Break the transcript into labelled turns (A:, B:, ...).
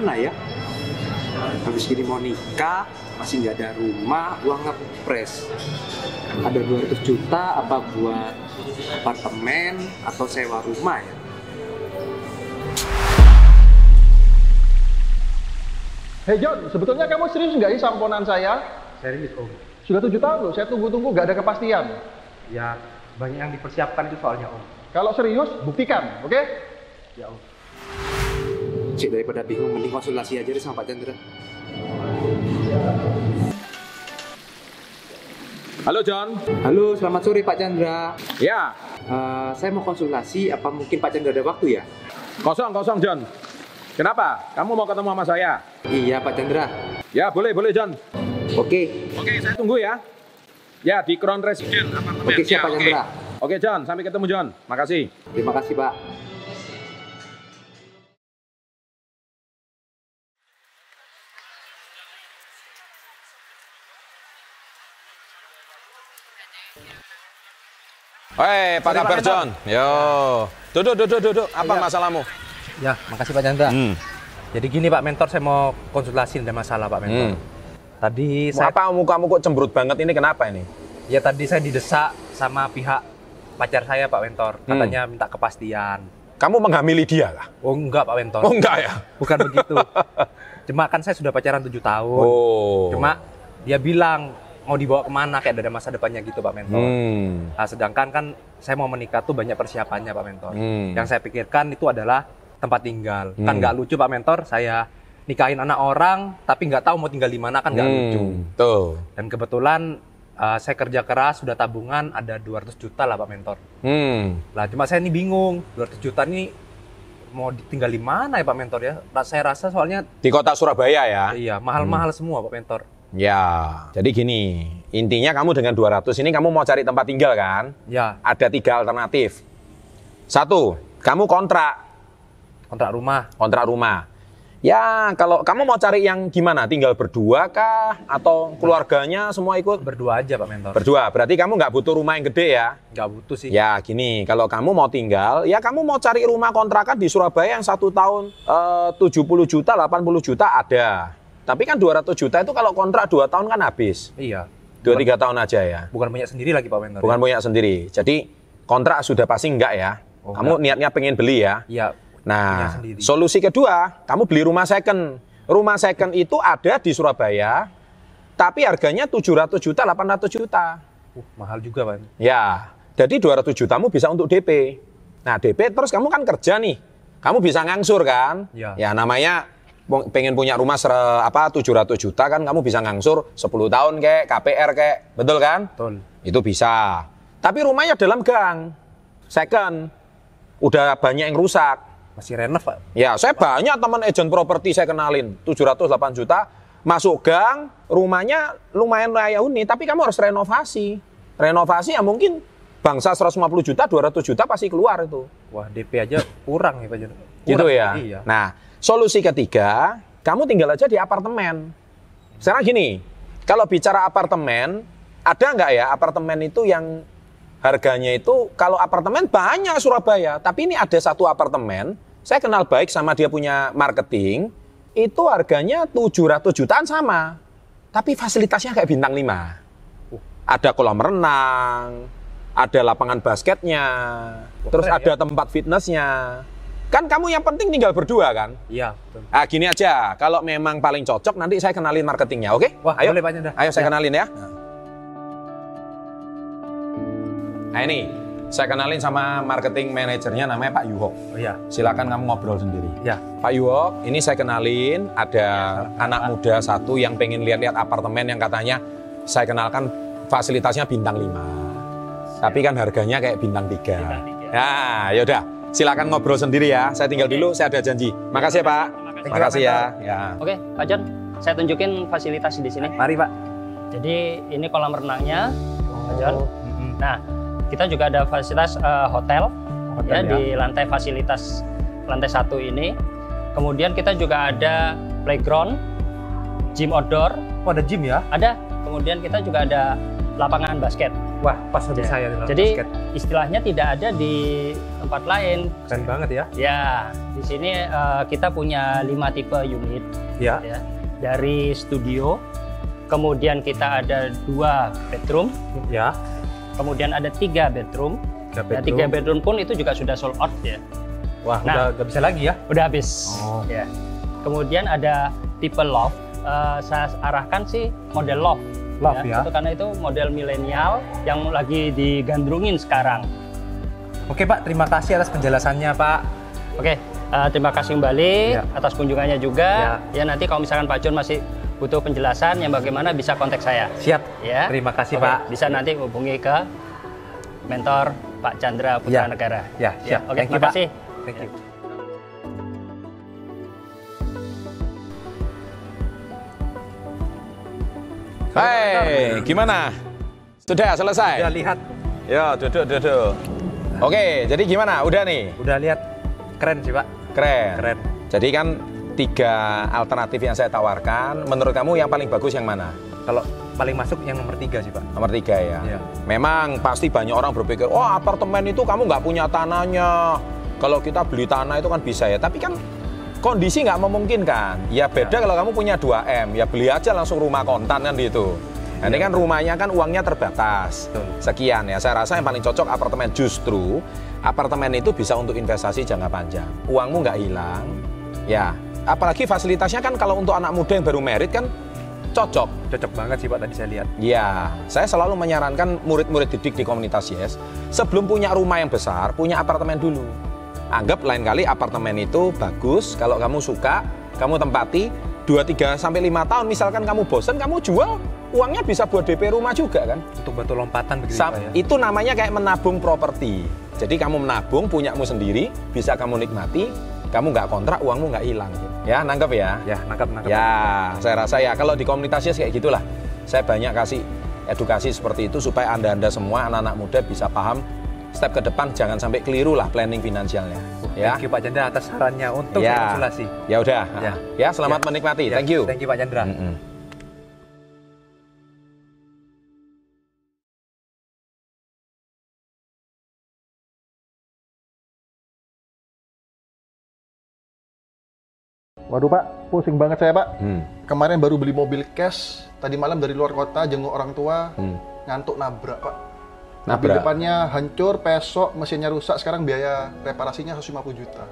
A: saya ya? habis gini mau nikah masih nggak ada rumah gua ngepres ada 200 juta apa buat apartemen atau sewa rumah ya
B: Hey John, sebetulnya kamu serius nggak sih samponan saya?
C: serius om
B: Sudah tujuh tahun loh, saya tunggu-tunggu nggak ada kepastian.
C: ya banyak yang dipersiapkan itu soalnya om
B: Kalau serius, buktikan, oke?
C: ya om
A: Cik daripada bingung mending konsultasi aja deh sama Pak Chandra
D: Halo John.
A: halo selamat sore Pak Chandra
D: Ya,
A: Eh, saya mau konsultasi apa mungkin Pak Chandra ada waktu ya
D: kosong kosong John. Kenapa? Kamu mau ketemu sama saya?
A: iya Pak Chandra
D: Ya boleh boleh John.
A: oke
D: Oke, saya tunggu ya. Ya di Crown Residence.
A: oke
E: Ya,
C: Ya,
A: siap Pak Chandra
D: Oke John, sampai ketemu John. Makasih.
A: terima kasih Pak
E: Hei, apa kabar John? Yo, duduk, duduk, duduk. Apa masalahmu?
C: ya makasih pak Chandra
E: Hmm.
C: jadi gini pak mentor saya mau konsultasi ada masalah pak mentor
E: Hmm.
C: tadi saya
E: Apa kamu kok cemberut banget ini? Kenapa ini?
C: ya tadi saya didesak sama pihak pacar saya pak mentor
E: Hmm.
C: katanya minta kepastian
E: Kamu menghamili dia lah?
C: oh enggak pak mentor
E: Oh enggak ya?
C: bukan begitu cuma kan saya sudah pacaran tujuh tahun
E: Oh.
C: cuma dia bilang mau dibawa kemana kayak ada masa depannya gitu pak mentor
E: Hmm.
C: Nah, sedangkan kan saya mau menikah tuh banyak persiapannya Pak Mentor.
E: Hmm.
C: Yang saya pikirkan itu adalah tempat tinggal. Kan
E: Hmm.
C: nggak lucu Pak Mentor, saya nikahin anak orang tapi nggak tahu mau tinggal di mana kan nggak
E: Hmm.
C: lucu.
E: Tuh.
C: Dan kebetulan uh, saya kerja keras, sudah tabungan ada 200 juta lah Pak Mentor.
E: Hmm.
C: Lah cuma saya ini bingung, 200 juta ini mau tinggal di mana ya Pak Mentor ya? Ra- Saya rasa soalnya
E: Di kota Surabaya ya?
C: iya mahal-mahal semua Pak Mentor.
E: Ya. Jadi gini, intinya kamu dengan 200 ini kamu mau cari tempat tinggal kan?
C: Ya,
E: Ada tiga alternatif. Satu, kamu kontrak,
C: kontrak rumah.
E: kontrak rumah. Ya, kalau kamu mau cari yang gimana? Tinggal berdua kah? Atau keluarganya semua ikut?
C: Berdua aja Pak Mentor.
E: Berdua, berarti kamu nggak butuh rumah yang gede ya?
C: Nggak butuh sih.
E: Ya gini, kalau kamu mau tinggal, ya kamu mau cari rumah kontrakan di Surabaya yang satu tahun eh, 70 juta, 80 juta ada. Tapi kan 200 juta itu kalau kontrak 2 tahun kan habis.
C: Iya.
E: 2-3 tahun aja ya,
C: Bukan punya sendiri lagi Pak Mentor.
E: bukan punya sendiri. Jadi kontrak sudah pasti enggak ya.
C: Oh,
E: Kamu niatnya pengen beli ya.
C: Iya. Punya
E: Nah,
C: sendiri.
E: solusi kedua, kamu beli rumah second. Rumah second itu ada di Surabaya, tapi harganya 700 juta, 800 juta.
C: Uh, mahal juga Pak.
E: Ya, jadi 200 jutamu bisa untuk DP. Nah, DP terus kamu kan kerja nih. Kamu bisa ngangsur kan?
C: Ya.
E: namanya peng- pengen punya rumah ser, apa 700 juta kan kamu bisa ngangsur 10 tahun kayak KPR kayak. Betul kan?
C: Betul.
E: Itu bisa. Tapi rumahnya dalam gang. Second. Udah banyak yang rusak.
C: Masih renov Pak.
E: Ya, saya banyak teman agent properti saya kenalin, 708 juta, masuk gang, rumahnya lumayan layak tapi kamu harus renovasi. Renovasi ya mungkin bangsa 150 juta, 200 juta pasti keluar itu.
C: Wah DP aja kurang ya Pak. Jan.
E: Gitu
C: Kurang,
E: ya.
C: Iya.
E: Nah, solusi ketiga, kamu tinggal aja di apartemen. Sekarang gini, kalau bicara apartemen, ada nggak ya apartemen itu yang harganya itu kalau apartemen banyak Surabaya, tapi ini ada satu apartemen, saya kenal baik sama dia punya marketing, itu harganya 700 jutaan sama. Tapi fasilitasnya kayak bintang 5 ada kolam renang, ada lapangan basketnya,
C: Wah,
E: terus
C: keren ya.
E: ada tempat fitnessnya. Kan kamu yang penting tinggal berdua kan?
C: Iya. betul.
E: Ah gini aja, kalau memang paling cocok nanti saya kenalin marketingnya, oke?
C: Wah
E: ayo,
C: boleh Pak Chandra.
E: ayo saya
C: Ya.
E: kenalin ya. Nah ini, saya kenalin sama marketing manajernya namanya Pak Yuhok.
C: Oh iya.
E: Silakan kamu ngobrol sendiri.
C: Ya.
E: Pak Yuhok, ini saya kenalin ada anak muda satu yang pengen lihat-lihat apartemen yang katanya saya kenalkan fasilitasnya bintang 5. Tapi kan harganya kayak bintang 3. Nah, yaudah. Silakan ngobrol sendiri ya. Saya tinggal dulu, saya ada janji. Makasih ya, Pak. Makasih ya. ya.
F: Oke, Pak John, saya tunjukin fasilitas di sini.
C: Mari Pak.
F: Jadi ini kolam renangnya, Pak John.
C: Mm-mm.
F: Nah, kita juga ada fasilitas eh, hotel,
C: Hotel
F: ya,
C: ya.
F: di lantai fasilitas lantai satu ini. Kemudian kita juga ada playground, gym outdoor,
C: Oh, ada gym ya?
F: ada. Kemudian kita juga ada lapangan basket.
C: Wah, pas
F: Ja-
C: habis
E: Ya.
C: saya di lapangan
F: Jadi
C: basket.
F: istilahnya tidak ada di tempat lain.
C: Keren banget ya.
F: Ya, di sini eh, kita punya lima tipe unit
C: Ya.
F: ya. Dari studio, kemudian kita ada dua bedroom,
C: Ya.
F: kemudian ada tiga bedroom.
C: Tiga
F: Nah, tiga bedroom pun itu juga sudah sold out ya.
C: Wah,
F: Nah.
C: udah nggak bisa lagi ya.
F: udah habis.
C: Oh.
F: Ya. Kemudian ada tipe loft. Eh, saya arahkan sih model loft.
C: Loft, ya.
F: Itu karena itu model milenial yang lagi digandrungin sekarang.
C: Oke, Pak, terima kasih atas penjelasannya, Pak.
F: Oke, eh, terima kasih kembali
C: Ya.
F: atas kunjungannya juga. Ya nanti kalau misalkan Pak Jun masih butuh penjelasan yang bagaimana bisa kontak saya.
C: Siap.
F: Ya.
C: Terima kasih,
F: Oke,
C: Pak.
F: Bisa nanti hubungi ke mentor Pak Chandra Putra Negara.
C: Ya, siap.
F: Oke,
C: Thank you,
F: terima
C: Pak.
F: kasih.
C: Thank you.
E: Hai, gimana? Sudah
C: Udah
E: selesai?
C: lihat,
E: Ya, duduk, duduk. Oke, jadi gimana? Udah nih,
C: udah lihat. Keren sih, Pak.
E: keren.
C: Keren.
E: Jadi kan tiga alternatif yang saya tawarkan, menurut kamu yang paling bagus yang mana?
C: Kalau paling masuk yang nomor tiga sih, Pak.
E: Nomor tiga ya.
C: Iya.
E: Memang pasti banyak orang berpikir, wah apartemen itu kamu nggak punya tanahnya. Kalau kita beli tanah itu kan bisa ya. Tapi kan kondisi nggak memungkinkan. Ya
C: Iya.
E: beda kalau kamu punya 2 m, ya beli aja langsung rumah kontan kan gitu. Nah, Ini kan rumahnya kan uangnya
C: Iya.
E: terbatas.
C: Betul.
E: Sekian ya. Saya rasa yang paling cocok apartemen justru apartemen itu bisa untuk investasi jangka panjang. Uangmu nggak hilang. Ya, apalagi fasilitasnya kan kalau untuk anak muda yang baru merit kan cocok.
C: Cocok banget sih, Pak, tadi saya lihat.
E: Ya, saya selalu menyarankan murid-murid didik di komunitas Yes, sebelum punya rumah yang besar, punya apartemen dulu. Anggap lain kali apartemen itu bagus, kalau kamu suka, kamu tempati 2 3 sampai 5 tahun misalkan kamu bosen, kamu jual, uangnya bisa buat DP rumah juga kan.
C: Untuk batu lompatan begitu,
E: Sam-
C: Pak ya.
E: Itu namanya kayak menabung properti. Jadi kamu menabung punyamu sendiri, bisa kamu nikmati, kamu nggak kontrak, uangmu nggak hilang. Ya, nangkep ya.
C: Ya, nangkap nangkap.
E: Ya, saya rasa ya kalau di komunitasnya kayak gitulah. Saya banyak kasih edukasi seperti itu supaya anda-anda semua anak-anak muda bisa paham step ke depan jangan sampai keliru lah planning finansialnya. Ya,
C: Oh, Thank you Pak Chandra atas sarannya untuk
E: Ya.
C: konsultasi.
E: ya udah.
C: Ya.
E: Ya, selamat
C: Ya.
E: menikmati.
C: Ya,
E: Thank you.
C: Thank you Pak Chandra.
E: Mm-mm.
B: Waduh Pak, pusing banget saya Pak.
E: Hmm.
B: Kemarin baru beli mobil cash, tadi malam dari luar kota jenguk orang tua,
E: Hmm.
B: ngantuk nabrak Pak. Mobil
E: Nabrak.
B: depannya hancur, pesok, mesinnya rusak, sekarang biaya reparasinya 150 juta.